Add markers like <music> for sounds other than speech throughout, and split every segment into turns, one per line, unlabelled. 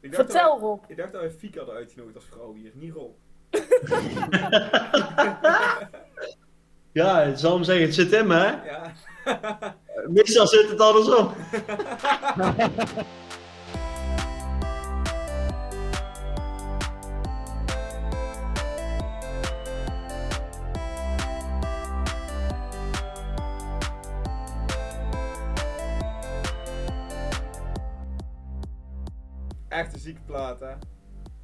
Ik dacht
Vertel
al-
Rob.
Ik dacht dat we Fieke hadden uitgenodigd als vrouw hier, niet Rob.
Ja, het zal hem zeggen, het zit in me, hè?
Ja.
Meestal zit het andersom.
Echt een zieke plaat, hè?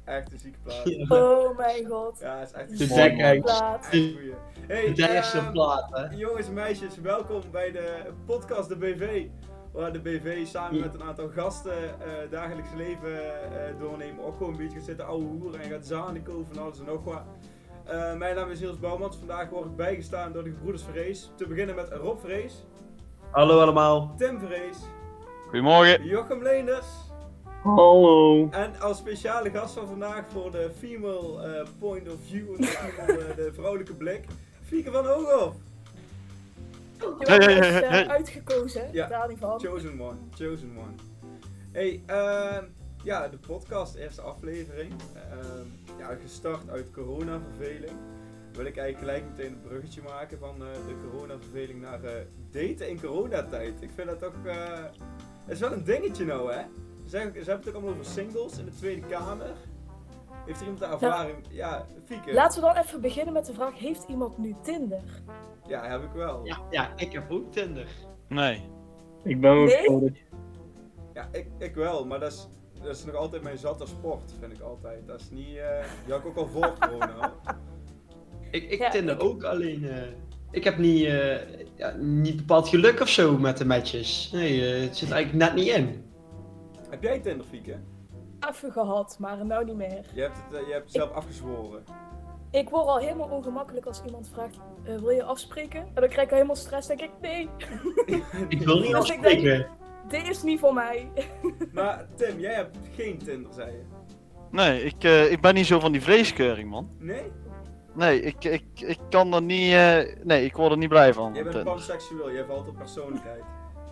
Echt een zieke plaat. Ja,
Oh mijn god.
het is echt een
De
zieke
dek, hè.
Plaat.
echt een goeie. Hey,
De eerste
ehm,
plaat, hè?
Jongens en meisjes, welkom bij de podcast De BV. Waar de BV samen met een aantal gasten eh dagelijks leven eh doornemen. Ook gewoon een beetje gaat zitten ouwe hoeren en gaat zaniken over van alles en nog wat. Eh, mijn naam is Niels Bouwmans. Vandaag word ik bijgestaan door de gebroeders Vrees. Te beginnen met Rob Vrees,
Hallo allemaal.
Tim Vrees,
Goedemorgen.
Jochem Leenders.
Hallo.
En als speciale gast van vandaag voor de female eh, point of view, en de, female, eh, de vrouwelijke blik, Fieke van Hooghoff.
Je wordt
Hey, hey,
dus, eh,
hey, hey.
uitgekozen,
Ja.
daarvan.
Chosen one, chosen one. Hey, ehm, ja, de podcast, eerste aflevering. Ehm, ja, gestart uit coronaverveling. Wil ik eigenlijk gelijk meteen een bruggetje maken van eh, de coronaverveling naar eh, daten in coronatijd. Ik vind dat toch, eh, het is wel een dingetje nou hè. Ze hebben ze hebben het ook allemaal over singles in de Tweede Kamer. Heeft er iemand daar ervaring? Ja, Fieke.
Laten we dan even beginnen met de vraag, heeft iemand nu Tinder?
Ja, heb ik wel. Ja,
Ja, ja, ik heb ook Tinder.
Nee.
Ik ben ook
Nee?
voor dat-
ik, ik wel, maar dat is, dat is nog altijd mijn zatte sport, vind ik altijd. Dat is niet, eh, die had ik ook al
<laughs>
voor corona. hoor.
Ik, ik
Ja,
Tinder
ik-
ook, alleen... eh, ik heb niet, eh, ja, niet bepaald geluk of zo met de matches. Nee, eh, het zit eigenlijk net niet in.
Heb jij Tinder, Fieke?
Even gehad, maar nou niet meer.
Je hebt het, eh, je hebt het zelf afgezworen.
Ik word al helemaal ongemakkelijk als iemand vraagt, eh, wil je afspreken? En dan krijg ik al helemaal stress, denk ik, nee,
Ik wil niet
Als ik denk-
afspreken.
dit is niet voor mij.
Maar Tim, jij hebt geen Tinder, zei je.
Nee, ik, eh, ik ben niet zo van die vleeskeuring, man.
Nee?
Nee, ik, ik, ik kan er niet... eh, nee, ik word er niet blij van.
Jij bent
Ten-
panseksueel, jij valt op persoonlijkheid.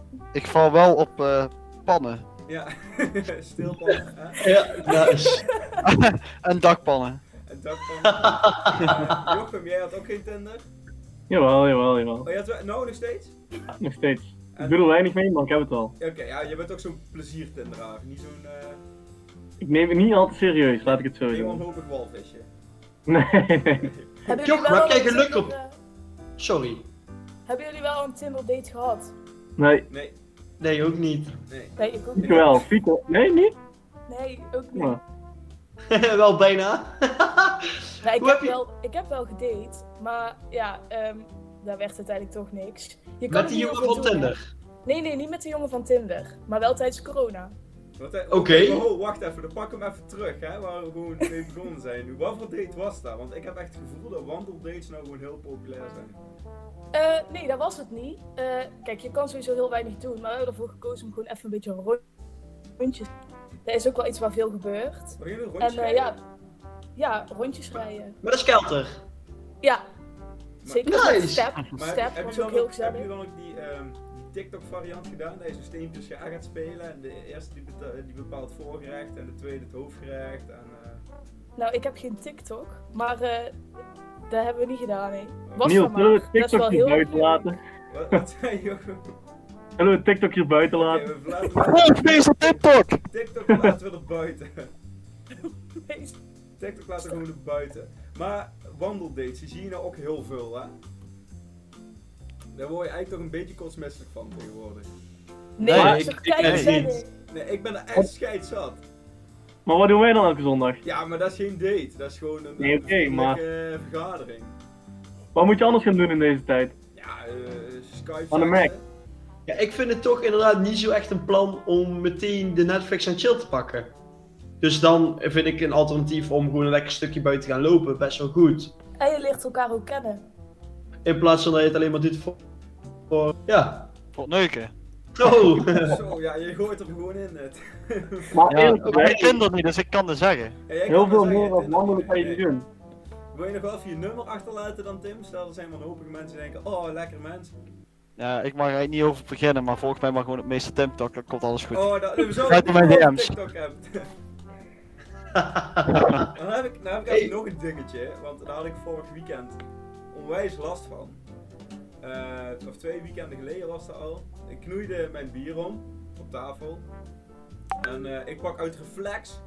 <laughs>
Ik val wel op eh, pannen.
Ja, <laughs> stil
<laughs>
pan. hè?
Ja, nou, dat is...
En dakpannen.
En dakpan. Eh, Jochem, jij had ook geen Tinder?
Jawel, jawel, jawel.
Oh, je had wel... Nou, nog steeds?
Nog steeds.
En-
Ik doe er weinig mee, maar ik heb het al.
Ja, Oké, ja, je bent ook zo'n plezier-Tinderaar. Niet zo'n eh
Ik neem het niet al te serieus, laat ik het zo
heel
zeggen.
onhopig walvisje.
Nee, nee.
Hebben
Joch,
al
waar heb jij
een
geluk
Tinder,
op?
eh,
Sorry.
hebben jullie wel een Tinder date gehad?
Nee,
Nee,
Nee, ook niet. <laughs>
nee.
Nee, ik ook
ik
niet.
wel. Fieke. Nee, niet?
Nee, ook niet.
Maar,
wel bijna.
Nou, ik,
Hoe
heb
heb je-
wel, ik heb wel gedate, maar ja, ehm, daar werd uiteindelijk toch niks. Je kan
met
er
die
niet
jongen
over
van
doen, hè?
Tinder.
Nee, nee, niet met de jongen van Tinder. Maar wel tijdens corona.
Wat, eh,
Oké.
Oh, wacht even, dan pak hem even terug, hè, waar we gewoon mee begonnen zijn. nu. Wat voor date was dat? Want ik heb echt het gevoel dat wandeldates nou gewoon heel populair zijn.
Eh, nee, dat was het niet. Eh, kijk, je kan sowieso heel weinig doen. Maar we hebben ervoor gekozen om gewoon even een beetje een rond- rondjes... Dat is ook wel iets waar veel gebeurt.
We beginnen een
En
rondje
eh,
rijden.
ja, ja, rondjes rijden.
Maar dat is kelter.
Ja, zeker.
Nice.
met Step,
Maar
step
heb,
was
je
ook
dan
heel
ook, heb je
gezellig.
dan ook die, ehm, die TikTok-variant gedaan? Dat je zo'n steentjes ga gaat spelen en de eerste die, beta- die bepaalt voorgerecht en de tweede het hoofdgerecht. En, eh,
Nou, ik heb geen TikTok. Maar eh, dat hebben we niet gedaan, nee. Was
Niels,
van maar.
zullen we het
Dat is wel
TikTokje
heel
buiten
leuk.
laten?
wat, wat zei je? Oké,
Zullen we het TikTokje buiten laten?
we laten
Oh, <laughs> feest op TikTok!
TikTok laten we er buiten.
Nee,
TikTok laten we gewoon er buiten. Maar wandeldates, die zie je nou ook heel veel, hè? Daar word je eigenlijk toch een beetje kotsmisselijk van tegenwoordig.
nee,
Nee,
dat is
ik-
toch
ik- nee,
keigezellig?
niet.
Nee, ik ben er echt scheidsat.
Maar wat doen wij dan elke zondag?
Ja, maar dat is geen date. Dat is gewoon een
Nee, oké, maar-
vriendelijke vergadering.
Wat moet je anders gaan doen in deze tijd?
Ja, eh Skype.
Van de Mac.
Ja, ik vind het toch inderdaad niet zo echt een plan om meteen de Netflix en chill te pakken. Dus dan vind ik een alternatief om gewoon een lekker stukje buiten te gaan lopen best wel goed.
En je leert elkaar ook kennen.
In plaats van dat je het alleen maar doet voor... voor- ja.
Pot neuken.
Oh. <laughs>
Zo, ja, je gooit er gewoon in net. <laughs>
Maar
Ja,
eerlijk
ik ben
gezegd,
Tinder niet, dus ik kan het zeggen.
Ja, jij
heel
kan wel
veel
zeggen,
meer dan
Tim,
wandelen kan je
eh,
niet doen.
Wil je nog wel even je nummer achterlaten dan, Tim? Stel, er zijn wanhopige mensen die denken, oh, lekker mens.
Ja, ik mag er eigenlijk niet over beginnen, maar volgens mij mag gewoon het meeste TikTok, dan komt alles goed.
Oh, dat, we
Kijk
zouden
naar mijn
<laughs>
op
DM's.
TikTok hebben. Nou, Dan heb ik, dan heb ik
Hey.
even nog een dingetje, want daar had ik vorig weekend onwijs last van. Eh, of twee weekenden geleden was dat al. Ik knoeide mijn bier om op tafel. En eh, ik pak uit reflex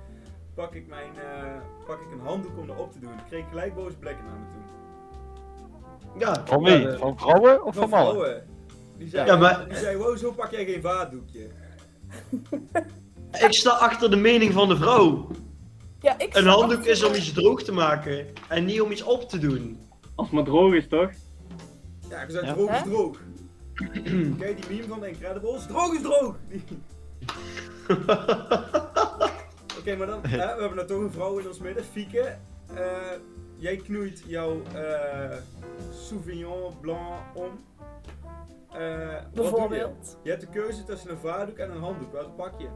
pak ik, mijn, eh, pak ik een handdoek om erop te doen. Ik kreeg gelijk boze blikken naar me toe.
Ja,
Van wie?
ja, eh,
Van vrouwen of
Van
van mannen?
vrouwen. Die zei,
Ja, maar-
die zei, wow, zo pak jij geen vaatdoekje.
ik sta achter de mening van de vrouw.
Ja, ik
Een
snap-
handdoek is om iets droog te maken en niet om iets op te doen.
Als het maar droog is, toch?
Ja, ik zei,
Ja.
droog is
Hè?
droog. Kijk die meme van de Incredibles, droog is droog! Die- Oké, maar dan, hè, we hebben nou toch een vrouw in ons midden, Fieke. Eh, jij knoeit jouw eh Sauvignon Blanc om. Eh, wat doe je?
Bijvoorbeeld.
Je hebt de keuze tussen een vaardoek en een handdoek. Welke pak je?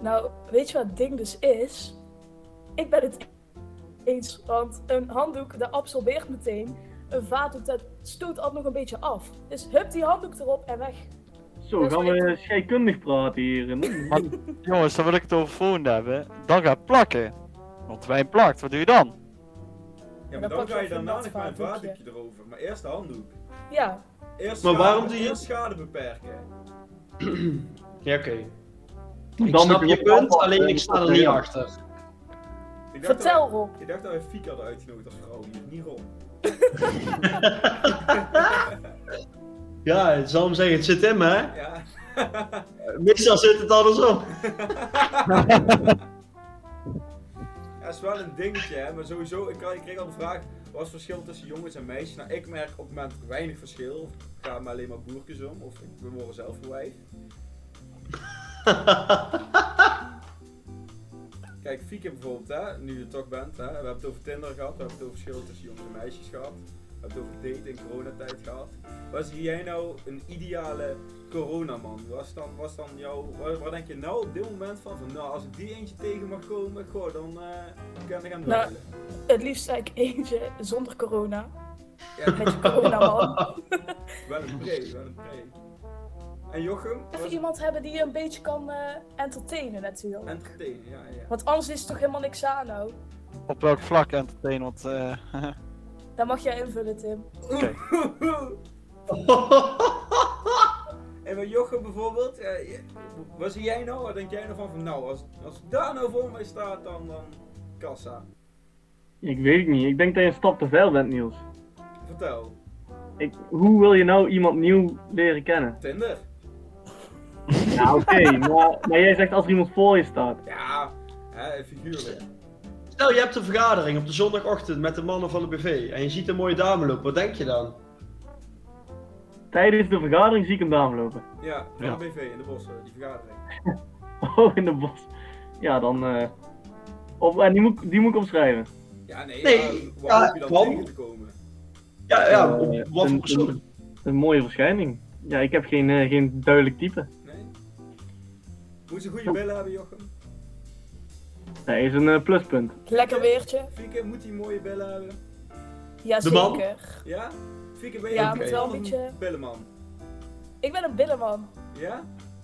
Nou, weet je wat het ding dus is? Ik ben het eens, want een handdoek, dat absorbeert meteen. Een vaatdoek, dat stoot altijd nog een beetje af. Dus hup die handdoek erop en weg.
Zo,
Dat is
gaan
wel
we
echt-
scheikundig praten hier. en-
Maar, jongens, dan wil ik het over volgende hebben. Dan gaat plakken. Want wijn plakt, wat doe je dan?
Ja, maar
Dan
dan,
pak je
ga je
even een
daarna
nat
nog maar een
vaardoekje.
vaardoekje erover. Maar eerst de handdoek.
Ja,
Eerst
Maar
schade-
waarom doe je-
Eerst schade beperken.
ja, oké. Ik
Dan
snap
moet
je
ook
punt,
aanpassen.
alleen ik sta er niet achter.
Ik dacht
vertel
dat-
Rob.
Ik dacht dat we Fieke hadden uitgenodigd als vrouw hier, niet Rob.
Ja, ik zal hem zeggen, het zit in me, hè?
Ja.
Meestal zit het andersom.
Ja, is wel een dingetje, hè? maar sowieso, ik, kreeg- ik kreeg al de vraag, wat is het verschil tussen jongens en meisjes? Nou, ik merk op het moment weinig verschil. Ik ga me alleen maar boerkes om, of ik- we worden zelf een wijf. Kijk, Fieke bijvoorbeeld, hè? nu je toch bent, hè? we hebben het over Tinder gehad, we hebben het over verschil tussen jongens en meisjes gehad. We hebben het over daten in coronatijd gehad. Wat zie jij nou een ideale coronaman? Was dan, was dan jouw, waar, waar denk je nou op dit moment van? van nou, als ik die eentje tegen mag komen, goh, dan eh kan ik hem
Nou,
ruilen.
Het liefst zei ik <laughs> eentje zonder corona.
Ja,
Met je corona
<laughs>
man.
wel een pre, wel een pre. En Jochem?
Even
Was
iemand hebben die je een beetje kan eh, entertainen natuurlijk.
entertainen, ja, ja.
Want anders is het toch helemaal niks aan nou.
Op welk vlak entertain? Want eh,
Dat mag jij invullen Tim.
<laughs> en bij Jochem bijvoorbeeld, eh, je- wat zie jij nou? Wat denk jij nou van? van nou, als, als daar nou voor mij staat, dan, dan kassa.
Ik weet het niet. Ik denk dat je een stap te ver bent, Niels.
Vertel.
Ik, hoe wil je nou iemand nieuw leren kennen?
Tinder?
Ja, oké, maar, maar jij zegt als er iemand voor je staat.
Ja, hè, figuurlijk.
Stel, je hebt een vergadering op de zondagochtend met de mannen van de BV en je ziet een mooie dame lopen, wat denk je dan?
Tijdens de vergadering zie ik hem dame lopen. <laughs>
Ja, van
Ja.
de BV in de bossen, die vergadering.
Oh, in de bos. Ja, dan. eh op, en die moet, ik- die moet ik omschrijven.
Ja, nee,
Nee,
maar waar
ja,
hoop je dan
man.
tegen te komen?
Ja, ja, op
Eh,
wat voor
een,
persoon?
een, een mooie verschijning. Ja, ik heb geen, eh, geen duidelijk type.
Nee? Moet ze goede billen hebben, Jochem?
Dat is een eh, pluspunt.
Lekker weertje.
Fieke, moet hij mooie billen hebben?
De man?
Jazeker.
Ja? Fieke, ben je
Ja,
een
moet
billenman
wel een
of
beetje-
billenman?
Ik ben een billenman.
Ja?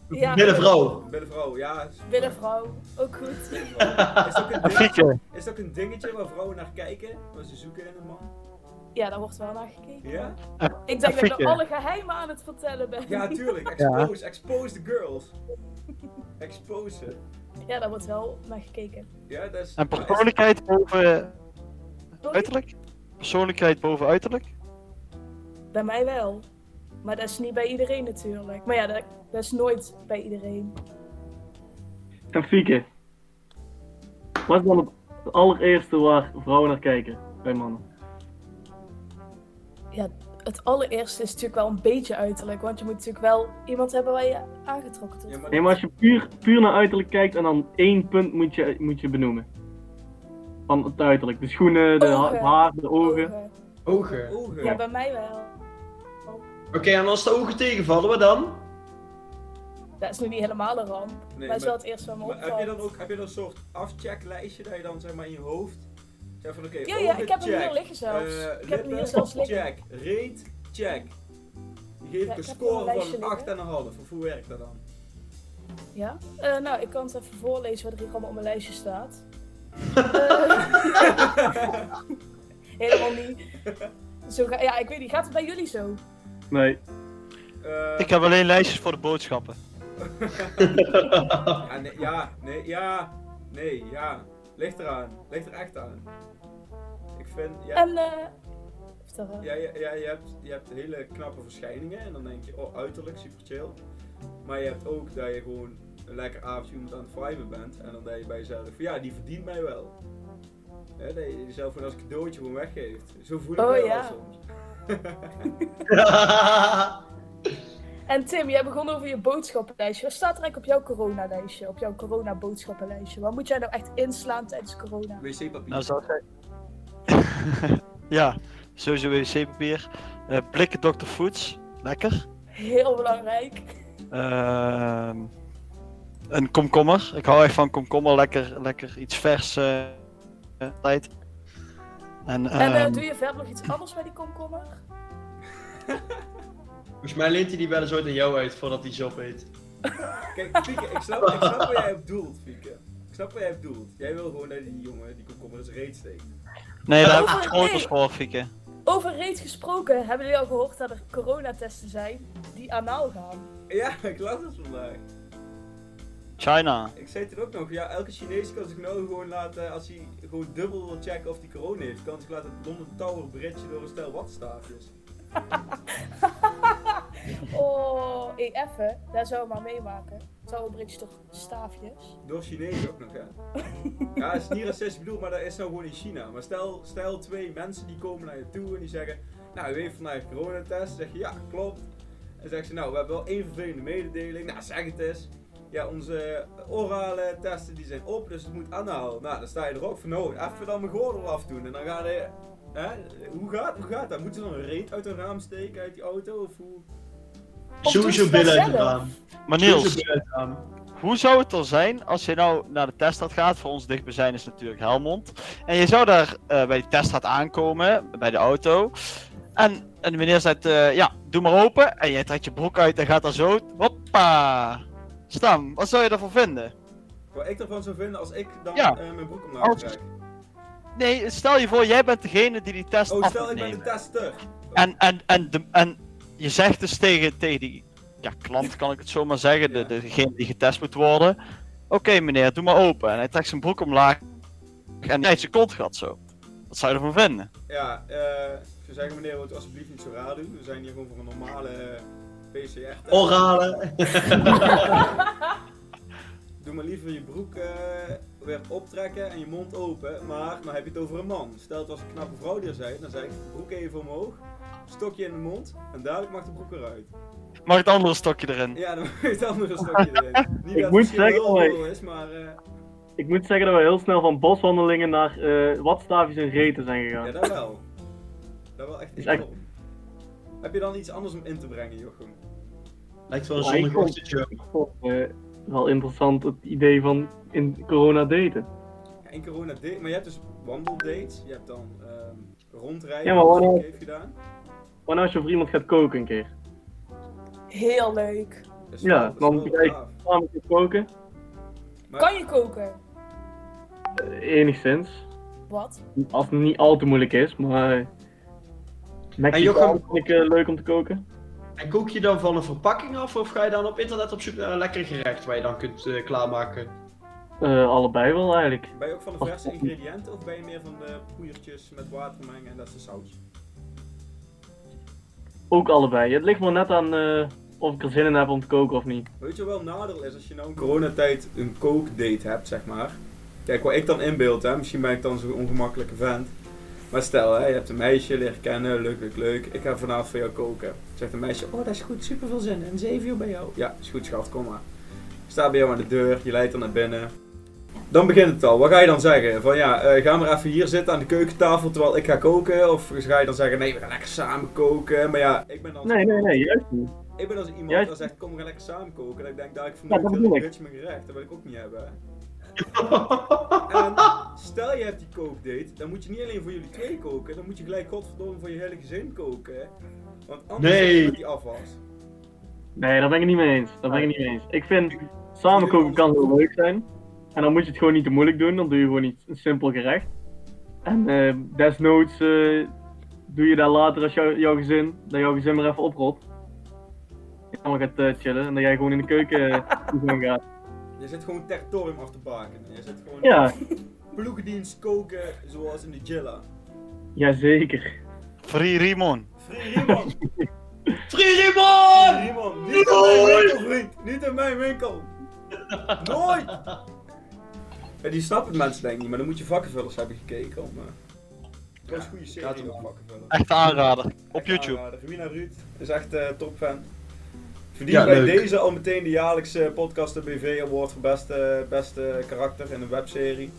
Ja,
Middenvrouw.
Billenvrouw, ja.
Billenvrouw, ook goed.
Billenvrouw. Is dat, ook een
een
ding-
fietje.
is dat ook een dingetje waar vrouwen naar kijken? Waar ze zoeken in een man?
Ja, daar wordt wel naar gekeken.
Ja?
Ik denk dat ik
Fietje.
nou alle geheimen aan het vertellen ben. <laughs>
Ja, tuurlijk. Expose, expose the girls. Expose ze.
Ja, daar wordt wel naar gekeken.
Ja, dat is...
En
maar is-
persoonlijkheid boven
Sorry?
uiterlijk? Persoonlijkheid boven uiterlijk?
Bij mij wel. Maar dat is niet bij iedereen natuurlijk. Maar ja, dat, dat is nooit bij iedereen.
En Fieke. Wat is dan het allereerste waar vrouwen naar kijken bij mannen?
Het allereerste is natuurlijk wel een beetje uiterlijk. Want je moet natuurlijk wel iemand hebben waar je aangetrokken tot
Ja, maar-
Nee, maar als je puur, puur naar uiterlijk kijkt en dan één punt moet je, moet je benoemen. Van het uiterlijk. De schoenen, de ha-
Ogen.
haar, de ogen.
ogen.
Ogen.
Ogen.
Ja, bij mij wel.
Oké, en als de ogen tegenvallen, wat dan? <laughs>
Dat is nu niet helemaal een ramp.
Nee,
maar dat is
maar-
wel het eerste wat me
Maar heb je
opvalt.
dan ook heb je dan een soort afchecklijstje dat je dan zeg maar in je hoofd zegt van oké,
Ja, ja,
ogen,
ik heb hem
check.
hier liggen zelfs.
Eh,
ik heb hem hier
lippen,
zelfs liggen.
Check, rate, check. Die geef
Ja,
ik
ik
een
heb
score
wel een
van een
lijstje
8,5. Of hoe werkt dat dan? <laughs>
Ja? Eh, <laughs> nou, ik kan het even voorlezen wat er hier allemaal op mijn lijstje staat. Eh, Helemaal niet. Zo ga, ja, ik weet niet. Gaat het bij jullie zo?
Nee.
Eh,
Ik heb alleen lijstjes voor de boodschappen.
ja, ah, nee, ja, nee, ja, nee, ja. Ligt eraan. Ligt er echt aan. Ik vind, ja,
En, eh, vertel maar.
ja, ja, ja, je, hebt, je hebt hele knappe verschijningen en dan denk je, oh, uiterlijk, super chill. Maar je hebt ook dat je gewoon een lekker avondje iemand aan het viben bent en dan denk je bij jezelf, van, ja, die verdient mij wel. Hè, dat je jezelf gewoon als cadeautje gewoon weggeeft. Zo voel ik
Oh,
mij wel
ja.
soms.
en Tim, jij begon over je boodschappenlijstje. Wat staat er eigenlijk op jouw coronalijstje? Op jouw corona-boodschappenlijstje? Wat moet jij nou echt inslaan tijdens corona?
Wc-papier.
Nou, zou zij... <laughs> ja, sowieso wc-papier. Eh, blikken Dr. Foods, lekker.
Heel belangrijk.
Ehm, een komkommer. Ik hou echt van komkommer, lekker, lekker iets vers. eh, eh, tijd. En,
en eh,
ehm,
doe je verder nog iets anders met die komkommer?
Volgens mij leent hij die wel eens ooit aan jou uit voordat hij zelf weet.
Kijk, Fieke, ik snap, ik snap wat jij hebt doelt, Fieke. Ik snap wat jij hebt doelt. Jij wil gewoon dat die jongen die komkommer in zijn reet steekt.
Nee, daar heb ik
Oh,
schotels
nee.
voor, Fieke.
Over reeds gesproken, hebben jullie al gehoord dat er coronatesten zijn die anaal gaan?
Ja, <laughs> ik las het vandaag.
China.
Ik zei het ook nog, ja, elke Chinees kan zich nou gewoon laten, als hij gewoon dubbel wil checken of hij corona heeft, kan zich laten het London Tower bridgen door een stel watstaafjes.
Oh, hey, effe, daar zou je maar meemaken. Zou een bridge toch staafjes?
Door Chinezen ook nog, hè? Ja, het is niet racistisch bedoeld, maar dat is nou gewoon in China. Maar stel, stel twee mensen die komen naar je toe en die zeggen, nou, u heeft vandaag een coronatest. Dan zeg je, ja, klopt. En zeggen ze, nou, we hebben wel één vervelende mededeling. Nou, zeg het eens. Ja, onze orale testen die zijn op, dus het moet aanhalen. Nou, dan sta je er ook van, nou, even dan mijn gordel afdoen. En dan ga je, hè, hoe gaat, hoe gaat dat? Moeten ze dan een reet uit een raam steken, uit die auto, of hoe?
Of doen
Sowieso
ze dat
billen uit het
zelf?
raam.
Maar
Sowieso
Niels,
billen uit het raam.
hoe zou het er zijn als je nou naar de teststraat gaat? Voor ons dichtbijzijn is natuurlijk Helmond. En je zou daar eh, bij de teststraat aankomen, bij de auto. En, en de meneer zegt, eh, ja, doe maar open. En jij trekt je broek uit en gaat daar zo, hoppa. Stam, wat zou je daarvan vinden?
Wat ik ervan zou vinden als ik dan
Ja.
eh, mijn broek omlaag
Als-
trek.
Nee, stel je voor, jij bent degene die die test
Oh,
af
stel
moet
ik ben de
nemen.
tester.
En, en, en, de, en je zegt dus tegen, tegen die ja, klant, kan ik het zomaar zeggen, de,
Ja.
degene die getest moet worden. Oké meneer, doe maar open. En hij trekt zijn broek omlaag en hij zijn kont gaat zo. Wat zou je ervan vinden?
Ja, eh, ik zou zeggen meneer, wordt alsjeblieft niet zo raar doen. We zijn hier gewoon voor een normale eh, PCR.
Orale.
Doe maar liever je broek eh, weer optrekken en je mond open. Maar dan heb je het over een man. Stel het als een knappe vrouw die er zei, dan zeg ik broek even omhoog. Stokje in de mond en dadelijk mag de broek eruit.
Mag het andere stokje erin?
Ja, dan mag je het andere
<laughs>
stokje erin. Niet
Ik
dat
moet
het
zeggen,
heel
hoi.
veel is, maar eh,
Ik moet zeggen dat we heel snel van boswandelingen naar eh watstaafjes en reten zijn gegaan.
ja, dat wel. Dat wel echt
Is
enorm.
echt-
Heb je dan iets anders om in te brengen, Jochem?
Lijkt wel een
Ja, ik
zondagochtendje.
vond eh, wel interessant het idee van in corona daten.
Ja, in corona date, maar je hebt dus wandeldates, je hebt dan ehm rondrijden,
Ja, maar
zoals
wanneer-
ik heb gedaan.
Maar nou als je voor iemand gaat koken een keer.
Heel leuk.
Dat is
Ja,
wel- dat is
dan
wel
kijk-
gaaf.
Samen gaan koken,
Maar-
Kan je koken?
eh, enigszins.
Wat?
Als het niet al te moeilijk is, maar... Mexicaan
Jochem-
vind ik eh, leuk om te koken.
En kook je dan van een verpakking af of ga je dan op internet op zoek naar een lekker gerecht waar je dan kunt eh, klaarmaken? <laughs>
Eh, allebei wel eigenlijk.
Ben je ook van de verse ingrediënten of ben je meer van de poeiertjes met water mengen en dat is de saus?
Ook allebei. Het ligt maar net aan eh, of ik er zin in heb om te koken of niet.
Weet je wel nadeel is als je nou in coronatijd een kookdate hebt, zeg maar. Kijk, wat ik dan inbeeld, hè, misschien ben ik dan zo'n ongemakkelijke vent. Maar stel, hè, je hebt een meisje leren kennen, leuk, leuk, leuk. Ik ga vanavond voor jou koken. Zegt een meisje, oh dat is goed, super veel zin in, zeven uur bij jou. Ja, is goed schat, kom maar. Ik sta bij jou aan de deur, je leidt dan naar binnen. Dan begint het al. Wat ga je dan zeggen? Van ja, eh, ga maar even hier zitten aan de keukentafel terwijl ik ga koken. Of ga je dan zeggen, nee, we gaan lekker samen koken. Maar ja, ik ben dan
Nee, nee, nee, juist niet.
ik ben als iemand
Juist.
dat zegt, kom we gaan lekker samen koken. Dat ik denk, daar ik
Ja, dat
vermoed heel
bedoel
ik
ik.
rutje mijn gerecht. Dat wil ik ook niet
<laughs>
hebben. En stel je hebt die kookdate, dan moet je niet alleen voor jullie twee koken. Dan moet je gelijk godverdomme voor je hele gezin koken. Want anders
Nee.
zit je met die afwas.
Nee, daar ben ik het niet mee eens. Daar ben ik het niet mee eens. Ik vind samen koken kan heel leuk zijn. En dan moet je het gewoon niet te moeilijk doen. Dan doe je gewoon iets, een simpel gerecht. En eh, desnoods eh, doe je dat later als jou, jouw gezin, dat jouw gezin maar even oprot. En dan gaat eh, chillen en dat jij gewoon in de keuken eh, <laughs> gewoon gaat.
Je zit gewoon territorium af te baken. Je zit gewoon
Ja,
ploegdienst koken zoals in de Jilla.
jazeker.
Free Rimon.
Free Riemann!
Frierimon!
Riemann, niet in mijn winkel, vriend! Niet in mijn winkel! Nooit! Ja, die snappen het mensen denk ik niet, maar dan moet je vakkenvullers hebben gekeken om... eh dat is een goede
gaat
serie
hem
om
wel.
vakkenvullers.
Echt aanrader. Op
Echt
YouTube.
aanrader. Rina Ruud is echt eh, topfan. Verdient
Ja,
bij
leuk.
deze al meteen de jaarlijkse podcast de BV Award voor beste, beste karakter in een webserie.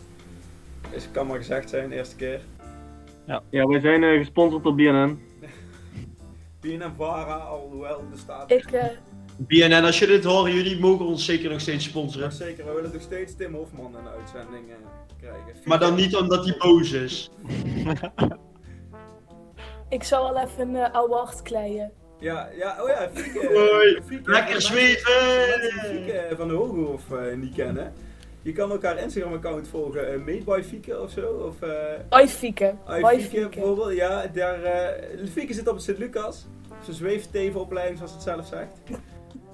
Is, kan maar gezegd zijn, eerste keer.
Ja, wij zijn eh, gesponsord door BNN.
BNM Vara, alhoewel de staat...
Ik, eh,
BNN, als jullie dit horen, jullie mogen ons zeker nog steeds
Ja,
sponsoren.
zeker, we willen nog steeds Tim Hofman in de uitzending eh, krijgen.
Maar dan niet omdat hij boos is.
ik zal al even een eh, award kleien.
Ja, ja, oh ja, Fieke.
<laughs> Hoi,
Fieke.
Lekker <laughs> zweten!
Fieke van de Hooghof eh, niet kennen. Je kan ook haar Instagram-account volgen, eh, Made by Fieke of zo. Of eh
Hoi Fieke.
I
Hoi
Fieke
Fieke.
bijvoorbeeld. Ja, daar, eh, Fieke zit op het Sint-Lucas. Ze zweeft tevenopleiding, zoals het zelf zegt.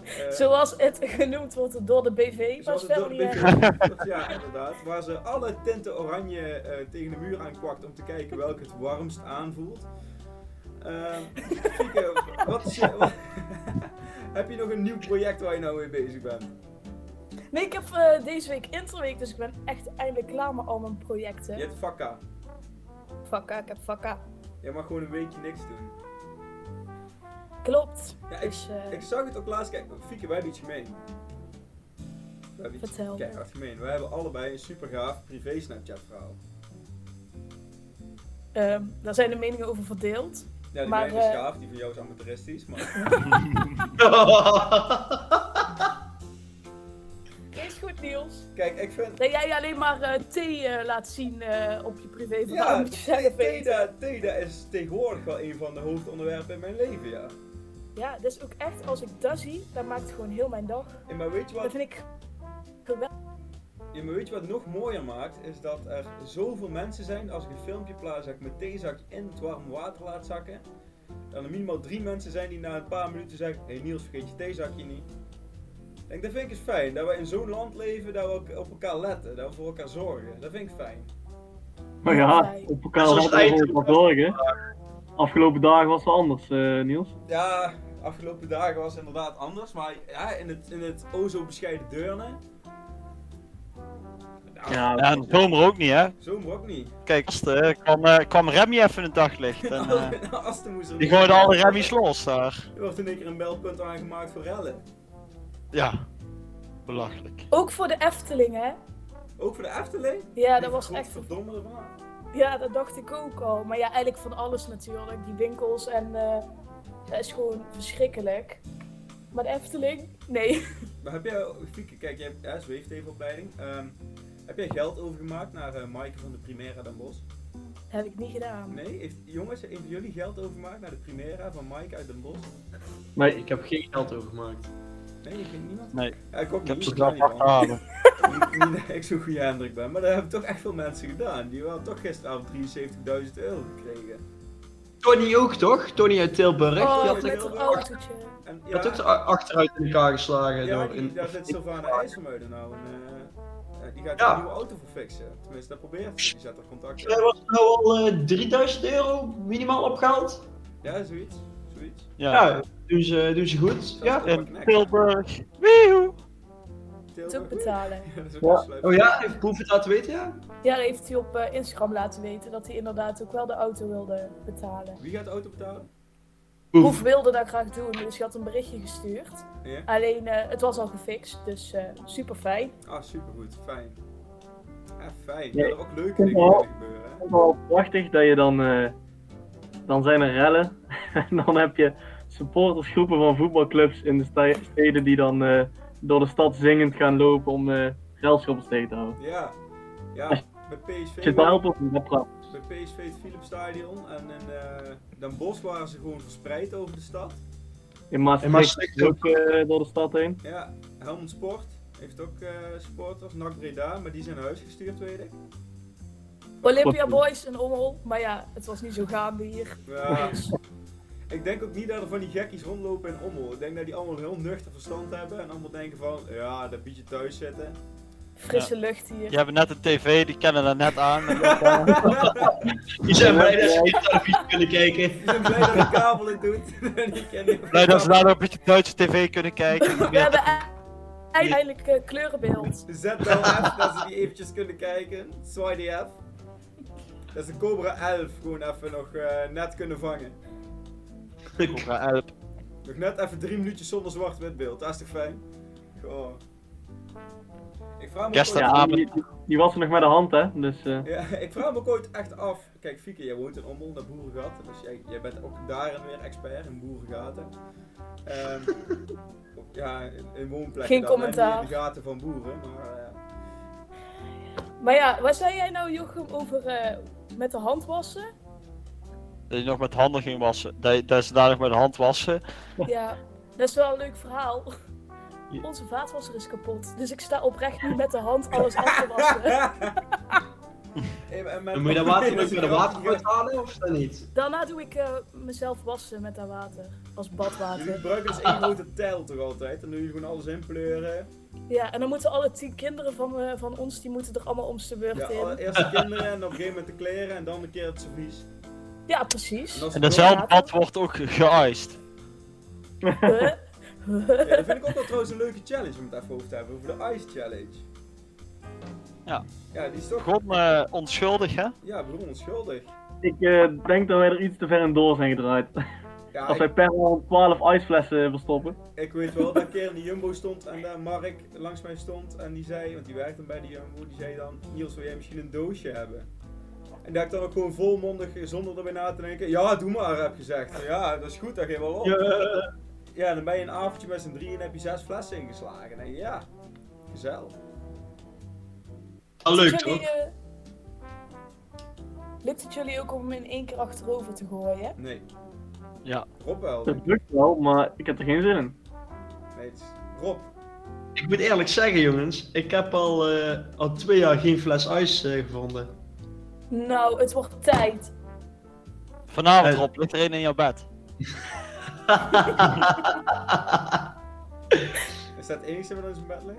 Eh,
Zoals het <laughs> genoemd wordt door de BV, maar
zoals
is
het
wel
door
niet
de
erg.
BTW Ja, inderdaad. Waar ze alle tinten oranje eh, tegen de muur aankwakt om te kijken welke het warmst aanvoelt. Ehm, Fieke, wat is
<laughs>
je, wat- <laughs> heb je nog een nieuw project waar je nou mee bezig bent?
Nee, ik heb eh, deze week interweek, dus ik ben echt eindelijk klaar met al mijn projecten.
Je hebt vakka.
Vakka, ik heb vakka.
Je mag gewoon een weekje niks doen.
Klopt.
Ja, ik,
Dus eh,
ik zag het ook laatst. Kijk, Fieke, wij hebben iets gemeen. We hebben iets
vertel.
keihard gemeen. Wij hebben allebei een super gaaf privé Snapchat verhaal.
Ehm, daar zijn de meningen over verdeeld.
Ja, die
Maar,
mijne is
eh,
gaaf, die van jou is amateuristisch,
<laughs>
maar...
Is goed, Niels.
Kijk, ik vind...
Dat jij alleen maar eh, thee eh, laat zien eh, op je privé.
Ja,
moet je zelf weten.
Teda, Teda is tegenwoordig wel een van de hoofdonderwerpen in mijn leven, ja.
Ja, dus ook echt, als ik dat zie, dan maakt het gewoon heel mijn dag.
En maar weet je
Dat
wat,
vind ik
ja, maar weet je wat nog mooier maakt? Is dat er zoveel mensen zijn, als ik een filmpje plaats dat ik mijn theezakje in het warme water laat zakken. Dan er minimaal drie mensen zijn die na een paar minuten zeggen, hé hey Niels, vergeet je theezakje niet. Ik Denk, dat vind ik eens fijn, dat we in zo'n land leven, dat we ook op elkaar letten, dat we voor elkaar zorgen. Dat vind ik fijn.
Maar ja, op elkaar
Zoals
hadden we
het
wel wat zorgen. Afgelopen dagen was het wel anders, eh, Niels.
Ja, afgelopen dagen was het inderdaad anders, maar ja, in het, in het o zo bescheiden Deurne... Nou,
Ja,
Ja, en zomer ook niet, hè?
Zo ook niet.
Kijk, als de- kwam, eh, kwam Remy even in het daglicht. En, eh,
<laughs> Asten moest er
die
niet-
gooide alle Remy's los daar.
Er wordt in één keer een belpunt aangemaakt voor rellen.
Ja, belachelijk.
ook voor de Efteling, hè?
Ook voor de Efteling?
Ja, dat was echt.
verdomme ervan.
Ja, dat dacht ik ook al. Maar ja, eigenlijk van alles natuurlijk. Die winkels en. eh dat is gewoon verschrikkelijk. Maar de Efteling? Nee. <laughs>
Maar heb jij, Fieke, kijk, jij hebt ja, zweeftevelopleiding. Ehm, heb jij geld overgemaakt naar eh Maaike van de Primera Den Bosch?
heb ik niet gedaan.
Nee? Heeft, jongens, heeft jullie geld overgemaakt naar de Primera van Maaike uit Den Bosch?
nee,
Ik heb geen geld overgemaakt.
Nee, ik weet niemand.
Nee,
Ja, ik ook
ik
niet.
heb ze
ik weet
daar
niet waarom.
achterhalen.
Niet niet dat ik zo'n goede indruk ben, maar dat hebben toch echt veel mensen gedaan. Die hebben toch gisteravond 73.000 euro gekregen.
Tony ook toch? Tony uit Tilburg. die
Oh,
had,
met
ik
het
heel erg.
autootje.
En,
die had ook de a- achteruit in elkaar geslagen.
Ja,
door
die,
een,
daar zit Sylvana IJsselmuiden nou. En, eh, ja, die gaat
Ja.
een nieuwe auto voor fixen. Tenminste, dat probeert ze. Die zet er contact
Jij
in.
was nou al eh, 3000 euro minimaal opgehaald.
Ja, zoiets. Zoiets.
Ja,
Ja, doen ze, doen ze goed.
Zelfs
Ja.
Papa
in
Knek.
Tilburg. Wiehoe!
<laughs>
Het ook
Tilburg.
betalen.
Ja, dat is ook
Ja.
wel sluip.
Oh ja, heeft Proef het laten weten, ja?
Ja, dat heeft hij op eh, Instagram laten weten dat hij inderdaad ook wel de auto wilde betalen.
Wie gaat de auto betalen?
Hoef wilde dat graag doen, dus je had een berichtje gestuurd.
Ja.
Alleen, eh, het was al gefixt, dus super fijn.
Ah, supergoed. Fijn. Ja, fijn.
Nee.
Ja, er ook leuke dingen
Ja.
kunnen gebeuren. Hè?
Het is wel prachtig dat je dan. eh, dan zijn er rellen. <laughs> en dan heb je supportersgroepen van voetbalclubs in de sta- steden die dan eh, door de stad zingend gaan lopen om eh relschoppers tegen te houden.
Ja. Ja, bij PSV.
Als je het daar op een webpraat.
Bij PSV het Philips Stadion en in eh, Den Bosch waren ze gewoon verspreid over de stad.
In
In
Maastricht
Maastricht
ook eh, door de stad heen.
Ja, Helmond Sport. heeft ook eh, supporters. NAC Breda, maar die zijn naar huis gestuurd, weet ik.
Olympia Boys en Ommel. Maar ja, het was niet zo gaande hier.
Ja,
Dus
ik denk ook niet dat er van die gekkies rondlopen in Ommel. Ik denk dat die allemaal heel nuchter verstand hebben en allemaal denken van, ja, dat bied je thuis zitten. <laughs>
frisse lucht
<laughs>
hier.
Die hebben net een tv, die kennen er net aan.
Die zijn blij <laughs> dat ze geen televisie kunnen kijken.
Die zijn blij dat de kabel het doet. <laughs> Die kennen-
Blij dat ze daar ook een beetje Duitse tv kunnen
<laughs>
kijken.
We hebben e- eindelijk eh, kleurenbeeld.
Zet wel F, dat ze die eventjes kunnen kijken. Zwaai die F. Dat is een Cobra 11, gewoon even nog eh, net kunnen vangen.
Cobra elf.
Nog net even drie minuutjes zonder zwart-wit beeld, dat is toch fijn? Goh. Ik vraag me ook
Gisteren-
ooit-
Ja,
die, die was er nog met de hand, hè? Dus eh,
Ja, <laughs> ik vraag me ook ooit echt af. Kijk, Fieke, jij woont in Ommel, naar Boerengaten, dus jij, jij bent ook daarin weer expert in Boerengaten. Ehm, op- ja, in, in woonplekken
Geen
dan, hè,
commentaar.
niet in de gaten van boeren, maar... eh,
Maar ja, wat zei jij nou, Jochem, over eh, met de hand wassen?
Dat je nog met handen ging wassen. Dat, je- dat ze daar nog met de hand wassen.
Ja, dat is wel een leuk verhaal. Onze vaatwasser is kapot, dus ik sta oprecht nu met de hand alles af te wassen.
Eh, en met-
Dan moet je dat water met de
Ja,
water halen of dan niet?
Daarna doe ik eh, mezelf wassen met dat water, als badwater.
<laughs> Jullie gebruiken dus één grote tel toch altijd? En dan doe je gewoon alles in pleuren.
Ja, en dan moeten alle tien kinderen van, eh, van ons, die moeten er allemaal om zijn beurt
Ja,
in.
allereerst de kinderen en op een gegeven moment de kleren en dan een keer het servies.
Ja, precies.
als het
En datzelfde bad wordt ook geëist.
<laughs>
Huh?
nog- Ja, dat vind ik ook wel trouwens een leuke challenge om het even over te hebben. Over de Ice Challenge.
Ja.
Ja, die is toch...
Begon eh, onschuldig, hè?
Ja, bedoel onschuldig.
ik eh, denk dat wij er iets te ver in door zijn gedraaid.
Ja,
Als
ik,
wij per hand 12 ijsflessen verstoppen.
ik weet wel dat een keer in de Jumbo stond en daar Mark langs mij stond. En die zei, want die werkte bij de Jumbo, die zei dan... Niels, wil jij misschien een doosje hebben? En dat ik dan ook gewoon volmondig, eh, zonder erbij na te denken... Ja, doe maar, heb gezegd. Ja, dat is goed, dat geeft wel op. Ja, dan ben je een avondje met z'n drieën en heb je zes flessen ingeslagen. En ja, gezellig.
Wel leuk
Lukt jullie,
toch?
eh, lukt het jullie ook om hem in één keer achterover te gooien?
Nee,
Ja.
Rob wel.
Dat lukt wel, maar ik heb er geen zin in.
Nee, het is Rob.
Ik moet eerlijk zeggen jongens, ik heb al, eh, al twee jaar geen fles ijs eh, gevonden.
Nou, het wordt tijd.
Vanavond,
Eh.
Rob, ligt er één in jouw bed.
Is dat het enige wat in zijn bed ligt?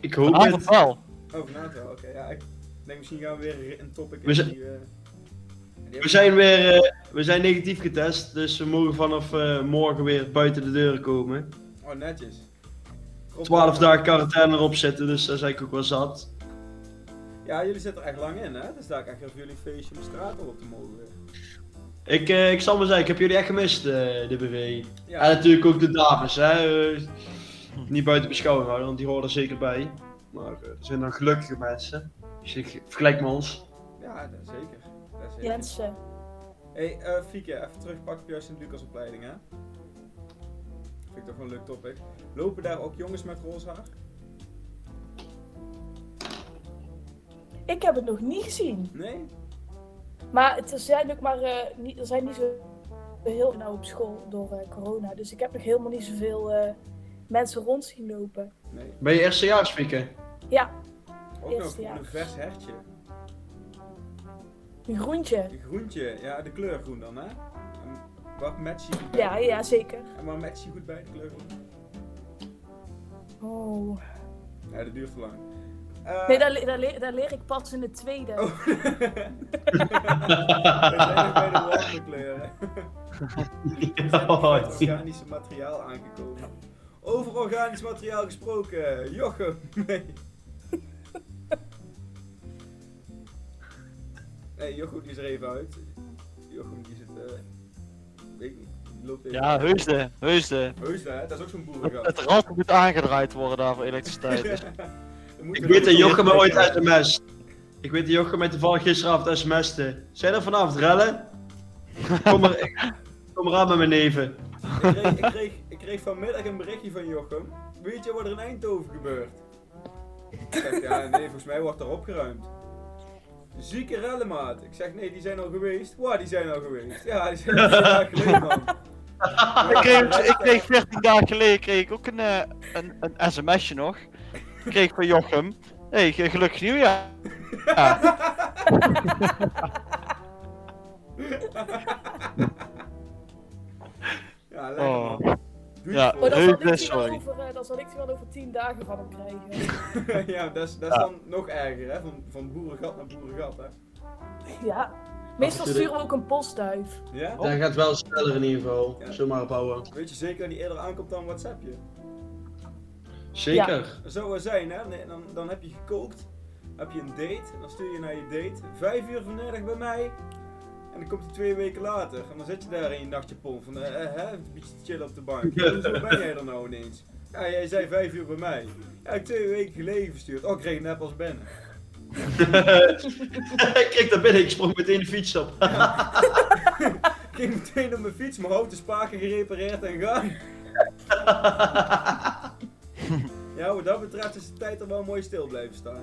Ik hoop
Vanavond
het.
wel.
Oh, vanavond wel. Oké, ja. Ik denk misschien gaan we weer een topic in
We zijn-
die... eh, die
We zijn weer eh, we zijn negatief getest, dus we mogen vanaf eh, morgen weer buiten de deuren komen.
Oh, netjes. eh, Rob,
12
wel.
dagen quarantaine erop zitten, dus daar zijn ik ook wel zat.
Ja, jullie zitten er echt lang in, hè? Het is daar echt even jullie feestje om de straat op te mogen.
Ik, eh, ik zal maar zeggen, ik heb jullie echt gemist, eh, de BV.
Ja,
En natuurlijk ook de dames, hè. eh, niet buiten beschouwing houden, want die horen er zeker bij. Maar eh, er zijn dan gelukkige mensen. Dus ik vergelijk me ons.
ja dat zeker. Dat zeker.
Jensen.
Hé, hey, eh, Fieke, even terugpak op jouw Sint-Lucas-opleiding, hè? Vind ik toch wel een leuk topic. Lopen daar ook jongens met roze haar?
Ik heb het nog niet gezien.
Nee?
Maar het is- zijn ook maar, eh, niet, er zijn niet zo heel veel nou op school door eh, corona. Dus ik heb nog helemaal niet zoveel eh, mensen rond zien lopen.
Nee.
Ben je eerstejaars, Fieke?
Ja,
Ook
Eerste
nog
jaar.
een vers hertje.
een groentje.
Een groentje, ja, de kleur groen dan, hè? En wat match je goed bij?
Ja,
de kleur?
ja, zeker.
En wat match je goed bij de kleur groen?
Oh.
Ja, dat duurt te lang. Eh,
Nee, daar, le- daar, le- daar leer ik pas in de tweede.
Oh. We zijn nog bij de wandelkleuren. We zijn nog
Oh,
bij het organische materiaal aangekomen. Over organisch materiaal gesproken, Jochem. Nee. Nee, Jochem die is er even uit. Jochem die zit, eh weet ik niet, die loopt even.
Ja, heusde, heusde.
Heus hè, dat is ook zo'n boerengat.
Het rad moet aangedraaid worden daar voor elektriciteit. <laughs> Dus
Dan moet
Ik
je
weet dat
nog-
Jochem me ooit sms. Ik weet dat Jochem mij toevallig gisteravond sms'te. Zijn er vanavond rellen? Kom maar, <laughs> kom maar aan met mijn neven.
Ik kreeg, ik, kreeg, ik kreeg vanmiddag een berichtje van Jochem. Weet je wat er in Eindhoven gebeurt? Ik zeg, ja, nee, volgens mij wordt er opgeruimd. Zieke rellenmaat. Ik zeg, nee, die zijn al geweest. Waar, die zijn al geweest. Ja, die zijn al geleden, man.
<laughs> Ik kreeg, ik kreeg 14 dagen geleden kreeg ik ook een, eh, een, een sms'je nog. Ik kreeg van Jochem. Hé, hey, gelukkig nieuwjaar. Ja.
Ja, lekker
Oh.
man. Doe
Ja.
het
Maar
voor.
dan
Heel
zal, ik die wel
sorry.
over, eh, dan zal ik die wel over tien dagen van hem krijgen. <laughs>
<laughs> ja, dat is, dat is dan nog erger, hè? Van, van boerengat naar boerengat, hè?
Ja. Meestal
natuurlijk.
sturen we ook een postduif.
Ja?
Dat gaat wel sneller in ieder geval.
Ja.
Zomaar ophouden.
Weet je zeker dat die eerder aankomt dan een WhatsAppje?
Zeker.
Dat zou wel zijn, hè? Nee, dan, dan heb je gekookt, heb je een date, en dan stuur je naar je date. Vijf uur vanmiddag bij mij. En dan komt hij twee weken later. En dan zit je daar in je nachtje pom van, eh, eh, hè, een beetje te chillen op de bank. Ja, Hoezo ben jij er nou ineens? Ja, jij zei vijf uur bij mij. Ja, ik heb twee weken geleden verstuurd. Oh, ik kreeg net als Ben.
<laughs> ik kreeg daar binnen, ik sprong meteen de fiets op.
Ik ging meteen op mijn fiets, mijn houten spaken gerepareerd en gaan. ja, wat dat betreft is de tijd er wel mooi stil blijven staan.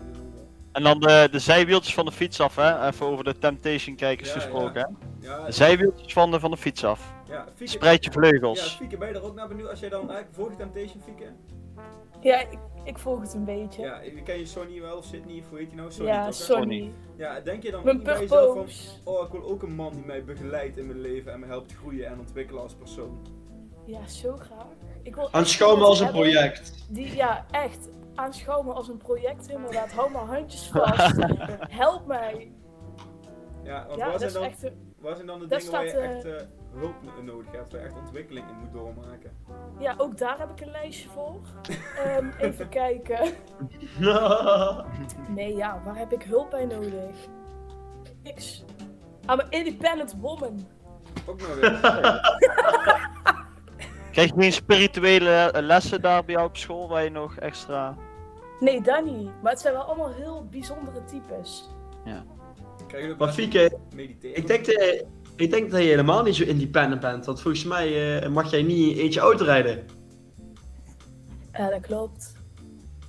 En dan de, de zijwieltjes van de fiets af, hè? Even over de Temptation-kijkers
Ja,
gesproken, hè?
Ja,
De zijwieltjes van de, van de fiets af.
ja, Fieke-
Spreid je
Ja,
vleugels.
Fieke, ben je er ook naar benieuwd als jij dan eigenlijk volgt Temptation Fieke?
Ja, ik, ik volg het een beetje. Ja,
Ja, ik ken je Sony wel of Sydney, of hoe heet die nou? Sony toch, hè?
Sonny.
Ja, denk je dan
Mijn
niet bij jezelf van,
purpoos.
oh, ik wil ook een man die mij begeleidt in mijn leven en me helpt groeien en ontwikkelen als persoon.
Ja, zo graag. Ik wil echt
Aanschouw me
iemand
als een
hebben
project. <laughs>
Die, ja, echt. Aanschouw me als een project, inderdaad. Hou mijn handjes
<laughs>
vast. Help mij.
Ja, want
Ja,
waar, zijn
dat is
dan,
echt een-
waar zijn dan de
dat
dingen waar je
staat,
echt eh, hulp n- nodig hebt, waar je echt ontwikkeling in moet doormaken?
Ja, ook daar heb ik een lijstje voor.
<laughs>
Ehm, even kijken. Nee, ja, waar heb ik hulp bij nodig? Niks. I'm an independent woman.
Ook nog
<laughs>
weer.
Krijg je geen spirituele eh, lessen daar bij jou op school waar je nog extra.
Nee, dat niet. Maar het zijn wel allemaal heel bijzondere types.
Krijg je ook
maar
wel
Fieke,
mediteren?
ik denk, dat, ik denk dat je helemaal niet zo independent bent. Want volgens mij eh, mag jij niet in je eentje auto rijden.
Ja, dat klopt.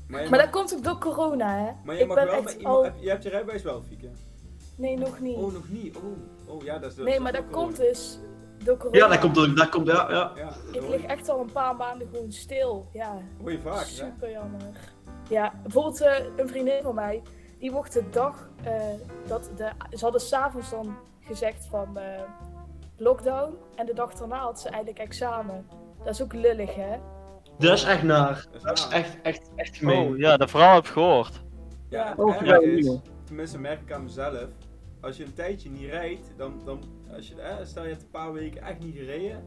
Maar je
Maar
mag,
dat komt ook door corona, hè?
maar je
ik
mag
ben
wel
echt
bij
al...
iemand... heb- Je hebt je rijbewijs wel, Fieke?
Nee, nog niet.
Oh, nog niet. Oh, oh ja, dat is...
nee, maar dat
ook
komt
corona.
dus door corona.
Ja, dat komt, door- dat komt ja, ja.
Ja, dat
Ik
hoor
lig
je-
echt al een paar maanden gewoon stil. Ja,
hoor je vaak, hè?
super jammer. Ja, bijvoorbeeld eh, een vriendin van mij, die mocht de dag eh, dat de... Ze hadden s'avonds dan gezegd van eh, lockdown. En de dag daarna had ze eigenlijk examen. Dat is ook lullig, hè?
Dat is echt naar.
Dat is
Dat is
waar.
echt, echt, echt gemeen.
Oh ja, dat verhaal heb ik gehoord.
Ja, het
Oh,
erge
ja,
is,
ja.
tenminste merk ik aan mezelf, als je een tijdje niet rijdt, dan, dan als je, eh, stel je hebt een paar weken echt niet gereden,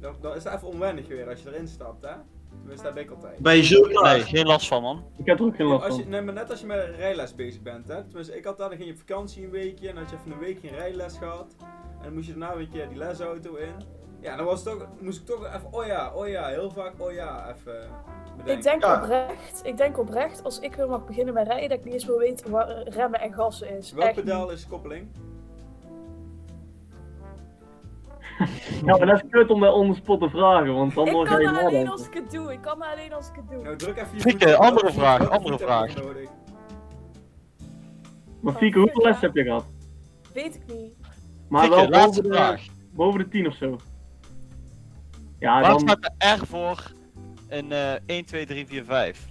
dan, dan is het even onwennig weer als je erin stapt, hè? Tenminste, daar ben ik altijd.
Ben je zo klaar?
Nee, geen last van, man.
Ik heb er ook geen last
Als
van.
je, nee, maar net als je met een rijles bezig bent, hè? Tenminste, ik had daar, dan ging je op vakantie een weekje en dan had je even een week geen rijles gehad. En dan moest je daarna weer een keer die lesauto in. Ja, dan was het toch, moest ik toch even, oh ja, oh ja, heel vaak, oh ja, even bedenken.
Ik denk,
Ja.
oprecht, ik denk oprecht, als ik weer mag beginnen met rijden, dat ik niet eens meer weet wat eh, remmen en gassen is.
Welk
Echt niet.
pedaal is koppeling?
Ja, maar dat is kut om dat on the spot te vragen, want dan
Ik
ga
kan
je
maar alleen als
nadenken.
ik het doe. Ik kan maar alleen als ik het doe.
Nou, druk even je
Fieke,
voet-
andere
welke voet-
vraag,
welke
andere
voet heb je
vraag.
nodig?
Maar Fieke, hoeveel les heb je gehad?
Weet ik niet.
Maar
Fikke,
wel
laatste
boven de,
vraag.
boven de 10 of zo. Ja,
Waar
dan
staat de R voor in eh 1, 2, 3, 4, 5?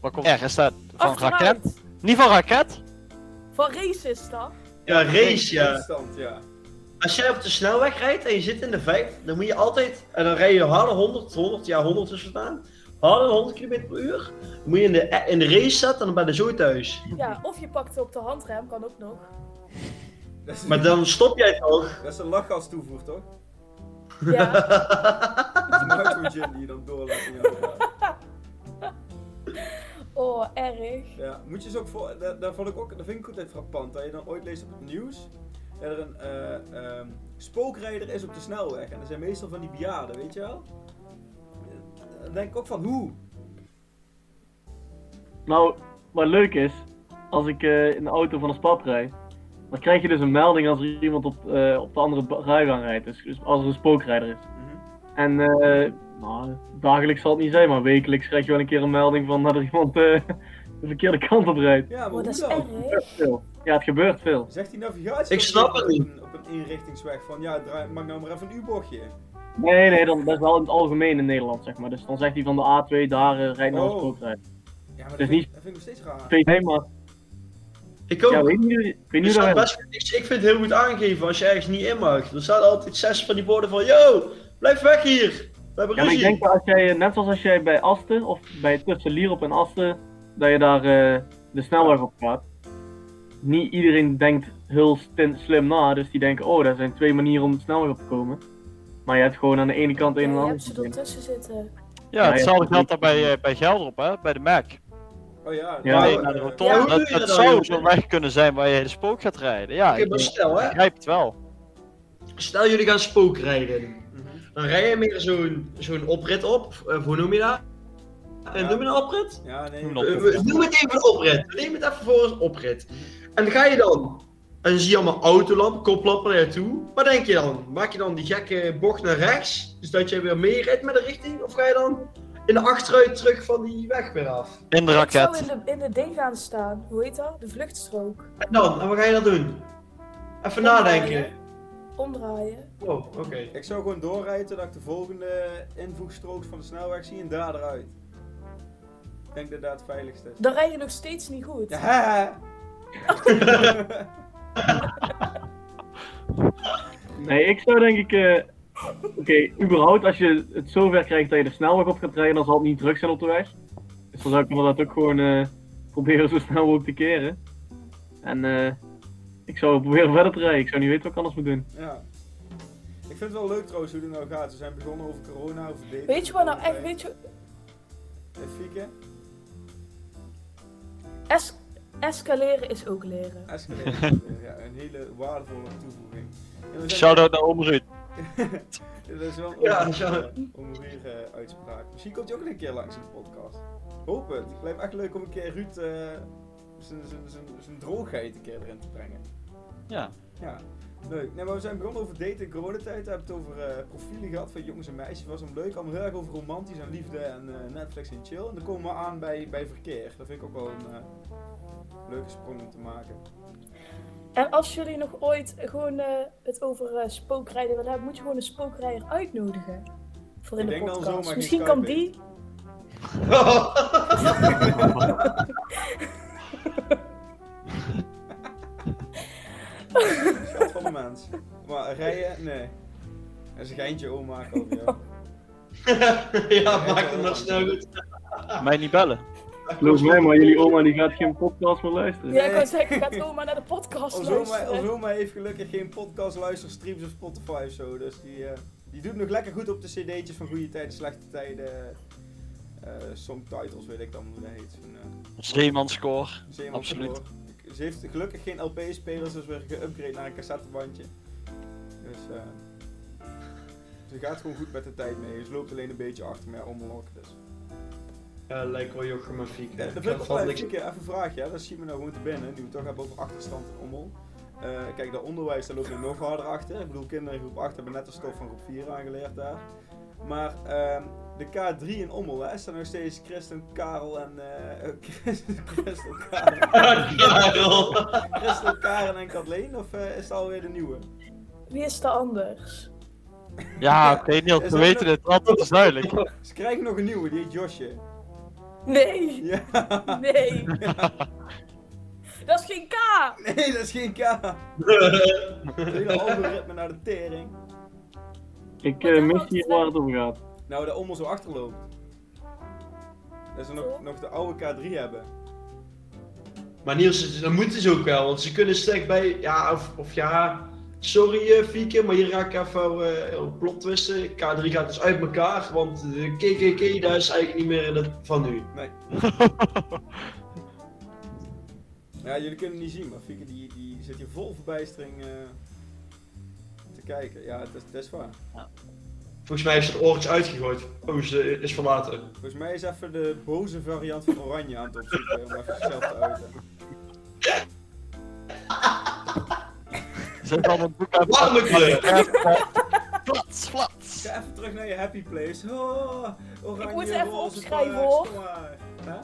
Waar komt R? Is dat van
Achteruit.
raket? Niet van raket?
Van race is dat.
Ja, race ja.
Instant, ja.
Als jij op de snelweg rijdt en je zit in de 5, dan moet je altijd, en dan rij je harder 100, 100, ja 100 is vandaan, harder 100 km per uur. Dan moet je in de, in de race zetten en dan ben je zo thuis.
Ja, of je pakt op de handrem, kan ook nog.
Dat is,
Maar dan stop jij toch?
dat is een lachgas toevoer, toch? <laughs>
Ja,
Dat is een autogin die je dan door laat gaan, ja.
oh, erg.
ja, moet je eens ook voor... Dat, dat vond ik ook... Dat vind ik altijd frappant. Dat je dan ooit leest op het nieuws... Dat er een eh, ehm, spookrijder is op de snelweg. En dat zijn meestal van die bejaarden, weet je wel? Dan denk ik ook van, hoe?
Nou, wat leuk is, als ik eh, in de auto van een spap rijd, dan krijg je dus een melding als er iemand op, eh, op de andere ba- rijbaan rijdt. Dus, dus als er een spookrijder is.
Mhm.
En eh, <laughs> nou, dagelijks zal het niet zijn, maar wekelijks krijg je wel een keer een melding van dat er iemand eh, de verkeerde kant op rijdt.
Ja, maar
Oh, dat
hoe
is
dan?
erg.
Veel. Ja, het gebeurt veel.
Zegt die navigatie
Ik snap het
op een, op een inrichtingsweg van ja, draai, maak nou maar even een U-bochtje.
Nee, nee, dan, dat is wel in het algemeen in Nederland, zeg maar. Dus dan zegt hij van de A2, daar eh, rijdt naar
Oh.
de spookrijd.
Ja, maar dat,
Dus
vind,
niet-
dat vind ik nog steeds raar.
Vind jij maar.
Ik ook.
Ja, weet niet, ik weet
Er
niet
staat
hoe dat
Oh. Dus best- ik, ik vind het heel goed aangegeven als je ergens niet in mag. Er staan altijd zes van die borden van, yo, blijf weg hier. We hebben
Ja, maar ik
ruzie.
denk dat als jij, eh, net zoals als jij bij Asten, of bij tussen Lierop en Asten, dat je daar eh, de snelweg op gaat. Niet iedereen denkt heel stin- slim na, dus die denken, oh, daar zijn twee manieren om de snelweg op te komen. Maar je hebt gewoon aan de ene kant een en
je
aan de
hebt ze
andere kant.
ertussen zitten.
Ja,
ja,
hetzelfde
dat
geldt daar
moet-
bij, eh, bij Gelderop, hè? bij de Mac.
Oh ja,
Ja,
nou,
nee,
eh,
naar de rotonde.
ja, hoe
dat
doe je
dat
dat nou,
zou
jongens?
zo'n weg kunnen zijn waar je hele spook gaat rijden. Ja,
Oké,
ik
maar stel hè,
begrijp het wel.
stel jullie gaan spookrijden.
mhm.
Dan rij je meer zo'n zo'n oprit op, of hoe noem je dat? En
Ja.
noem je een oprit?
Ja, nee.
Noem
Noem
dat
Eh, we- Noem het even een oprit. We Neem het even voor een oprit. En dan ga je dan, en dan zie je allemaal autolampen, koplampen naartoe. Wat denk je dan? Maak je dan die gekke bocht naar rechts, dus dat je weer mee rijdt met de richting? Of ga je dan in de achteruit terug van die weg weer af?
In de
Ik zou
raket.
in de, in de ding gaan staan. Hoe heet dat? De vluchtstrook.
En dan, en wat ga je dan doen? Even nadenken.
Omdraaien.
Oh, oké. <laughs>
Ik zou gewoon doorrijden totdat ik de volgende invoegstrook van de snelweg zie en daar eruit. Ik denk dat dat het veiligste is.
Dan rij je nog steeds niet goed.
Ja, haha.
Nee, ik zou denk ik. eh, Oké, überhaupt als je het zover krijgt dat je de snelweg op gaat rijden, dan zal het niet druk zijn op de weg. Dus dan zou ik dat ook gewoon eh, proberen zo snel mogelijk te keren. En eh, ik zou proberen verder te rijden. Ik zou niet weten wat ik anders moet doen.
ja. Ik vind het wel leuk trouwens hoe het nou gaat. We zijn begonnen over corona, over eh, daten.
Weet je wat nou echt, weet je,
En fieken,
es- escaleren is ook leren.
escaleren. ja, een hele waardevolle toevoeging. En we zijn-
Shout-out naar Oom Ruud.
<laughs> Dat is wel
Ja,
een
zo.
ongeveer uitspraak. Misschien komt hij ook nog een keer langs in de podcast. Hoop het. Het lijkt me echt leuk om een keer Ruud eh, zijn- zijn- zijn zijn droogheid een keer erin te brengen.
Ja.
Ja, leuk. Nee, maar we zijn begonnen over daten in coronatijd. We hebben het over eh, profielen gehad van jongens en meisjes. Het was hem leuk. Allemaal heel erg over romantisch en liefde en eh, Netflix en chill. En dan komen we aan bij, bij verkeer. Dat vind ik ook wel een eh, leuke sprong om te maken.
En als jullie nog ooit gewoon eh, het over eh, spookrijden willen hebben, moet je gewoon een spookrijder uitnodigen. Voor in
Ik
de
denk dan zomaar
podcast.
geen
Misschien
Skype
kan
in.
die.
Schat van de mens. Maar rijden? Nee. Dat is een geintje ommaken over jou.
ja, maak het maar snel goed.
Mij niet bellen.
Geloof mij, maar jullie oma die gaat geen podcast meer luisteren.
Ja, ik wou zeggen, gaat gewoon maar naar
<laughs>
de podcast
Ons oma,
luisteren.
ons oma heeft gelukkig geen podcast, luisterstreams of Spotify of zo. Dus die, eh, die doet nog lekker goed op de cd'tjes van goede tijden, slechte tijden. eh songtitles weet ik dan hoe dat heet. Zo'n, eh,
Zeeman score.
Zeeman
Absoluut.
Verloor. Ze heeft gelukkig geen LP-spelers, dus weer geüpgrade naar een cassettebandje. Dus eh, ze gaat gewoon goed met de tijd mee. Ze loopt alleen een beetje achter met haar omlok. Dus.
Ja, lijkt wel Jochem en Fieke.
Ja,
Ik
dat
heb
vind ik wel leuk.
altijd niks-
Fieke, Even een vraagje, hè. dat schiet me nou gewoon te binnen, nu we het toch hebben over achterstand en ommel. Eh, kijk, dat onderwijs, daar loopt nu nog harder achter. Ik bedoel, kinderen in groep 8 hebben net de stof van groep 4 aangeleerd daar. Maar ehm, de K3 in Ommel, hè, is er nog steeds Christen, Karel en... eh, <laughs> eh, Christen, Christel, Karel,
Karel.
Christel, Karen en Kathleen, of eh, is het alweer de nieuwe?
Wie is er anders?
Ja, oké, Niels,
Is
we
dat
weten
een-
het. Altijd is duidelijk.
Ze krijgen nog een nieuwe, die heet Josje. <laughs>
Nee,
Ja, <laughs>
nee. Dat is geen K.
nee, dat is geen K.
<laughs>
Het hele algoritme naar de tering.
Ik
Maar
eh,
dat
mis
wordt
hier
wel-
waar het over gaat.
Nou, de ommel zo achterloopt. Dat ze nog, nog de oude K3 hebben.
Maar Niels, dat moeten ze ook wel, want ze kunnen slecht bij. Ja, of, of ja. Sorry eh, Fieke, maar hier raak ik even eh op plot twisten. K3 gaat dus uit elkaar, want de KKK daar is eigenlijk niet meer in dat van nu.
Ja, jullie kunnen het niet zien, maar Fieke die, die zit hier vol verbijstering eh, te kijken. Ja, dat is, dat is waar.
Volgens mij heeft ze de oortjes uitgegooid. Oh, ze is verlaten.
Volgens mij is even de boze variant van Oranje aan het opzoeken om even zichzelf te uiten.
Zet dan een boek aan.
Warme kleur!
Flats, flats.
Ga even terug naar je happy place. Oh, oranje,
Ik moet ze even
roze,
opschrijven,
paars,
hoor.
kom maar. Hè?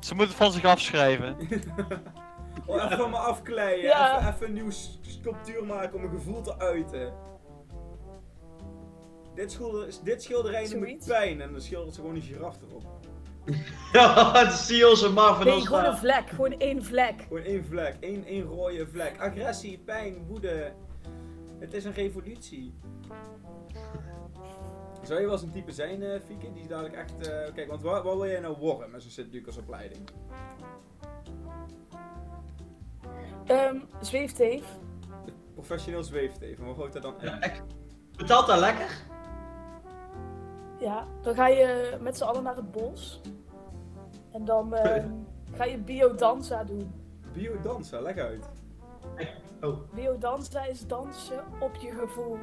Ze moeten het van zich afschrijven.
Oh, even van me afkleien.
Ja.
Even, even een nieuwe s- sculptuur maken om een gevoel te uiten. Dit, schilder, dit schilderij noem ik
Zoiets.
pijn en dan schildert ze gewoon een giraf erop.
<laughs> Ja, de Sios en Marvin
Nee,
als
gewoon
daar.
een vlek. Gewoon één vlek.
Gewoon één vlek, één, één rode vlek. Agressie, pijn, woede. Het is een
<laughs>
revolutie. Zou je wel eens een type zijn, eh Fieke? Die dadelijk echt... eh, kijk, want waar, waar wil jij nou worden met zo'n Sint-Lucas-opleiding?
Ehm zweefteef.
Professioneel zweefteef, maar hoe houdt dat dan in?
Ja, ik- Betaalt dat lekker?
Ja, dan ga je met z'n allen naar het bos. En dan eh,
<laughs>
ga je biodanza doen.
Biodanza, leg uit.
Oh.
Biodanza is dansen op je gevoel.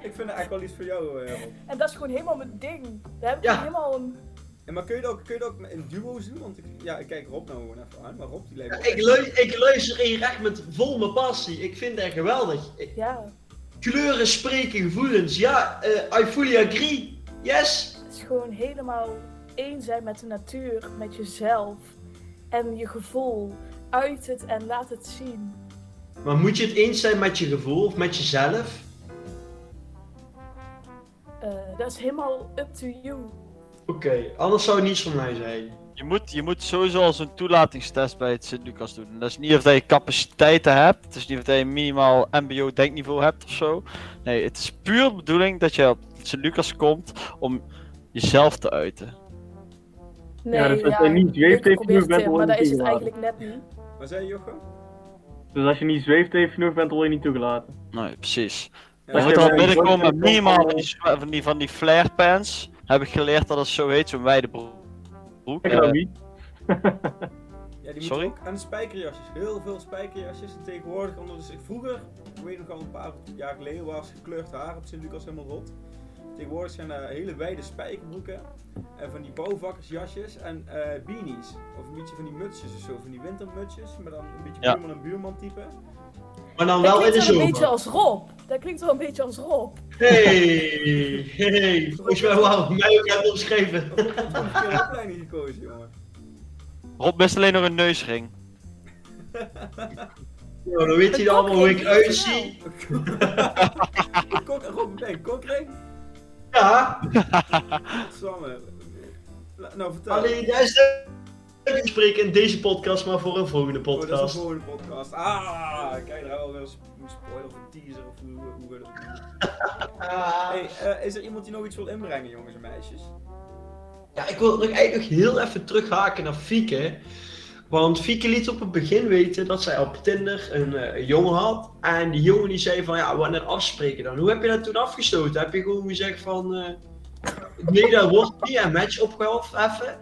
Ik vind dat eigenlijk wel iets voor jou, eh, Rob.
En dat is gewoon helemaal mijn ding. Daar heb ik
Ja.
helemaal een...
En maar kun je dat ook, kun je dat ook in duo's doen? Want ik, ja, ik kijk Rob nou gewoon even aan, maar Rob die lijkt wel
Ik, lu ik luister hier echt met vol mijn passie. Ik vind dat geweldig. Ik-
Ja,
kleuren spreken gevoelens. Ja, eh I fully agree. Yes.
het is gewoon helemaal één zijn met de natuur, met jezelf. En je gevoel. Uit het en laat het zien.
Maar moet je het eens zijn met je gevoel of met jezelf?
Eh, dat is helemaal up to you.
Oké, anders zou het niets van mij zijn.
Je moet, je moet sowieso al zo'n toelatingstest bij het Sint-Lucas doen. En Dat is niet of dat je capaciteiten hebt. Het is niet of dat je minimaal MBO-denkniveau hebt of zo. Nee, het is puur de bedoeling dat je op het Sint-Lucas komt om jezelf te uiten.
Nee,
dus als je niet
ik
zweeft, heeft
probeer
je
het,
bent wel
Maar
niet
dat is het
toegelaten.
eigenlijk net niet.
Wat zei je, Jochem?
Dus als je niet zweeft even genoeg bent, word je niet toegelaten.
Nee, precies.
Ja,
Je
Dat
moet
je
al
bij-
binnenkomen met
dat je-
minimaal van die, zwa- van die, van die flare pants. Heb ik geleerd dat dat zo heet, zo'n wijde broek. broek.
Ik geloof
Eh,
niet.
Ja, die
Sorry?
moeten ook aan de spijkerjasjes. Heel veel spijkerjasjes. En tegenwoordig, omdat dus ik vroeger, ik weet nog al een paar jaar geleden, was gekleurd haar op Sint-Lucas helemaal rot. Tegenwoordig zijn er hele wijde spijkerbroeken. En van die bouwvakkersjasjes en eh, beanies. Of een beetje van die mutsjes of zo, van die wintermutsjes. Maar dan een beetje
Ja.
buurman en buurman type.
Maar dan
Dat
wel in de
klinkt wel een beetje
zomer.
als Rob. Dat klinkt wel een beetje als Rob.
Hey, hey. Volgens mij wou mij ook hebben omschreven.
Of heb je toch een verkeerde opleiding gekozen, jongen?
Rob mist alleen nog een neusring.
Nou, dan weet
Een
je allemaal hoe ik
kokring, weet je
uitzie.
Kok, Rob, nee, kokring?
Ja,
Samen. La- Nou, vertel.
alleen dat is de... Ik spreek in deze podcast, maar voor een volgende
Oh, dat is
podcast.
een volgende podcast. Ah, kijk, daar hebben we weer een spoiler of een teaser of hoe, hoe we dat doen.
Ah.
Hey, eh, is er iemand die nog iets wil inbrengen, jongens en meisjes?
Ja, ik wil nog eigenlijk nog heel even terughaken naar Fieke. Want Fieke liet op het begin weten dat zij op Tinder een, eh, een jongen had. En die jongen die zei van, ja, we gaan het afspreken dan. Hoe heb je dat toen afgestoten? Heb je gewoon gezegd van, eh, nee, dat wordt niet. Een match opgehoft, heffen,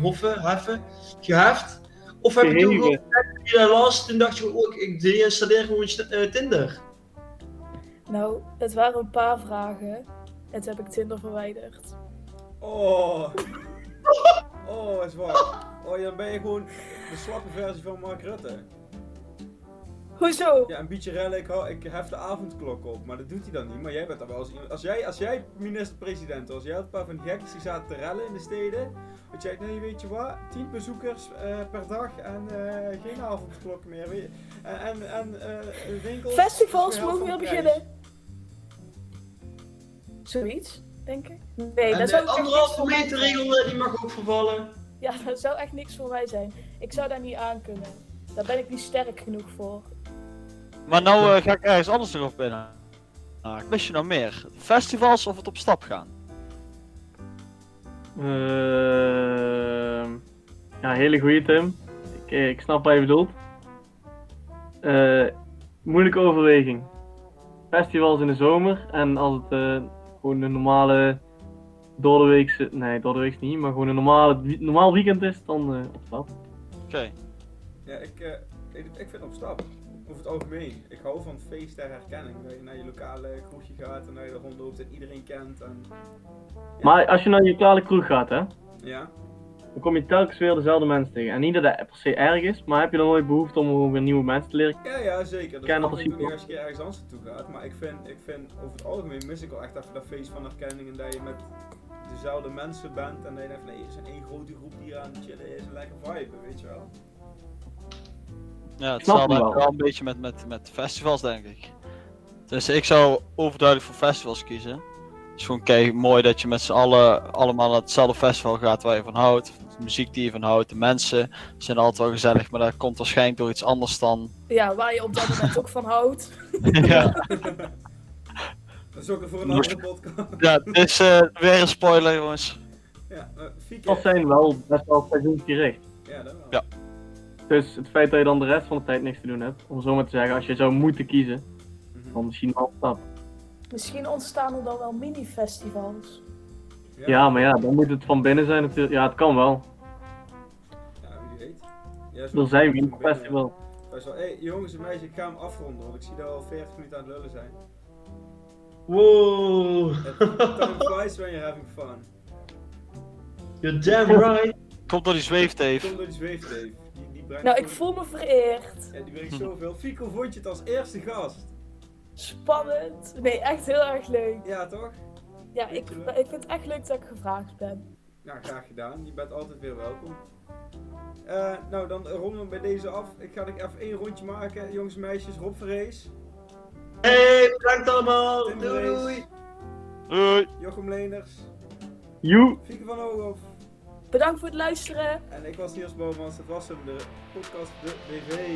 hoffen, heffen, geheft. Of heb je toen gewoon
Geheven.
gezegd, dat last en dacht je, oh, ik- ik deinstalleer gewoon st- eh, Tinder.
Nou, het waren een paar vragen. En toen heb ik Tinder verwijderd.
Oh,
<laughs>
oh, is waar. Oh, dan ben je gewoon de slappe versie van Mark Rutte.
Hoezo?
Ja, een beetje rellen, ik, hou- ik hef de avondklok op, maar dat doet hij dan niet. Maar jij bent dan wel eens iemand- als jij, als jij minister-president was, jij had een paar van die gekkies die zaten te rellen in de steden. Dat jij, nee, weet je wat, 10 bezoekers eh, per dag en eh, geen avondklok meer. weet je. En, en, en eh, winkels.
Festivals
voor de helft
mogen weer
van de prijs.
beginnen. Zoiets, denk ik. Nee,
en
dat zou
de
ook echt niks
anderhalve
voor mij
meter
zijn.
regel, eh, die mag ook vervallen.
Ja, <laughs> dat zou echt niks voor mij zijn. Ik zou daar niet aan kunnen. Daar ben ik niet sterk genoeg voor.
Maar nou eh, ga ik ergens anders nog op binnen. Ah, wist je nou meer? Festivals of het op stap gaan?
Ehm, ja, hele goede Tim. Ik, eh, ik snap wat je bedoelt. Eh, moeilijke overweging. Festivals in de zomer en als het eh, gewoon een normale doordeweekse, nee doordeweeks niet, maar gewoon een normale, wie- normaal weekend is, dan eh, op stap.
Oké.
Ja, ik, eh, ik, ik vind op stap. Over het algemeen. Ik hou van feest ter herkenning. Dat je naar je lokale kroegje gaat en dat je er rondloopt en iedereen kent. En,
Maar als je naar je lokale kroeg gaat, hè,
ja.
dan kom je telkens weer dezelfde mensen tegen. En niet dat dat per se erg is, maar heb je dan nooit behoefte om gewoon weer nieuwe mensen te leren?
Ja, ja, zeker. Dat
Ken
kan
dat
ik
principe.
als je een keer ergens anders naartoe gaat. Maar ik vind, ik vind over het algemeen mis ik wel echt even dat feest van herkenning. En dat je met dezelfde mensen bent. En dat je denkt van nee, er is een één grote groep die aan het chillen is en lekker viben, weet je
<laughs>
wel.
Ja, het
Snap
zal
me
wel.
wel.
wel een beetje met, met, met festivals, denk ik. Dus ik zou overduidelijk voor festivals kiezen. Het is gewoon kei mooi dat je met z'n allen allemaal naar hetzelfde festival gaat waar je van houdt. De muziek die je van houdt, de mensen zijn altijd wel gezellig, maar dat komt waarschijnlijk door iets anders dan.
Ja, waar je op dat moment ook van houdt.
ja,
Dat is ook weer voor een
Ja.
andere podcast.
ja dit is eh, weer een spoiler, jongens.
Ja, maar
Dat
Fieke.
zijn wel best wel seizoensgericht.
Ja, dat wel.
Ja.
Dus het feit dat je dan de rest van de tijd niks te doen hebt, om zo maar te zeggen, als je zou moeten kiezen,
Mhm.
dan misschien wel een stap.
Misschien ontstaan er dan wel mini-festivals.
Ja. maar ja, dan moet het van binnen zijn natuurlijk. Ja, het kan wel.
Ja, wie weet. Ja, zo-
Er zijn
zo-
wind festival.
Best wel. Hey, jongens en meisjes, ik ga hem afronden, want ik zie dat we al 40 minuten aan het lullen zijn.
Wow. <laughs>
Time flies when you're having fun.
You're damn right.
Komt door die zweefteef.
Kom door die zweef, Dave. Die, die brengt
Nou, ik
zo-
voel me vereerd.
Ja, die brengt zoveel. Fieke, hoe vond je het als eerste gast?
Spannend. Nee, echt heel erg leuk.
Ja, toch?
Ja, ik, ik vind het echt leuk dat ik gevraagd ben.
Nou, graag gedaan. Je bent altijd weer welkom. Eh, nou, dan ronden we bij deze af. Ik ga nog even één rondje maken. Jongens en meisjes, Rob Verhees,
Hey, bedankt allemaal.
Tim
Doei
Rees.
doei.
Doei.
Jochem Leeners,
Joe!
Fieke van Hooghoff.
Bedankt voor het luisteren.
En ik was Niels Boomans. Dat was hem, de podcast De BV.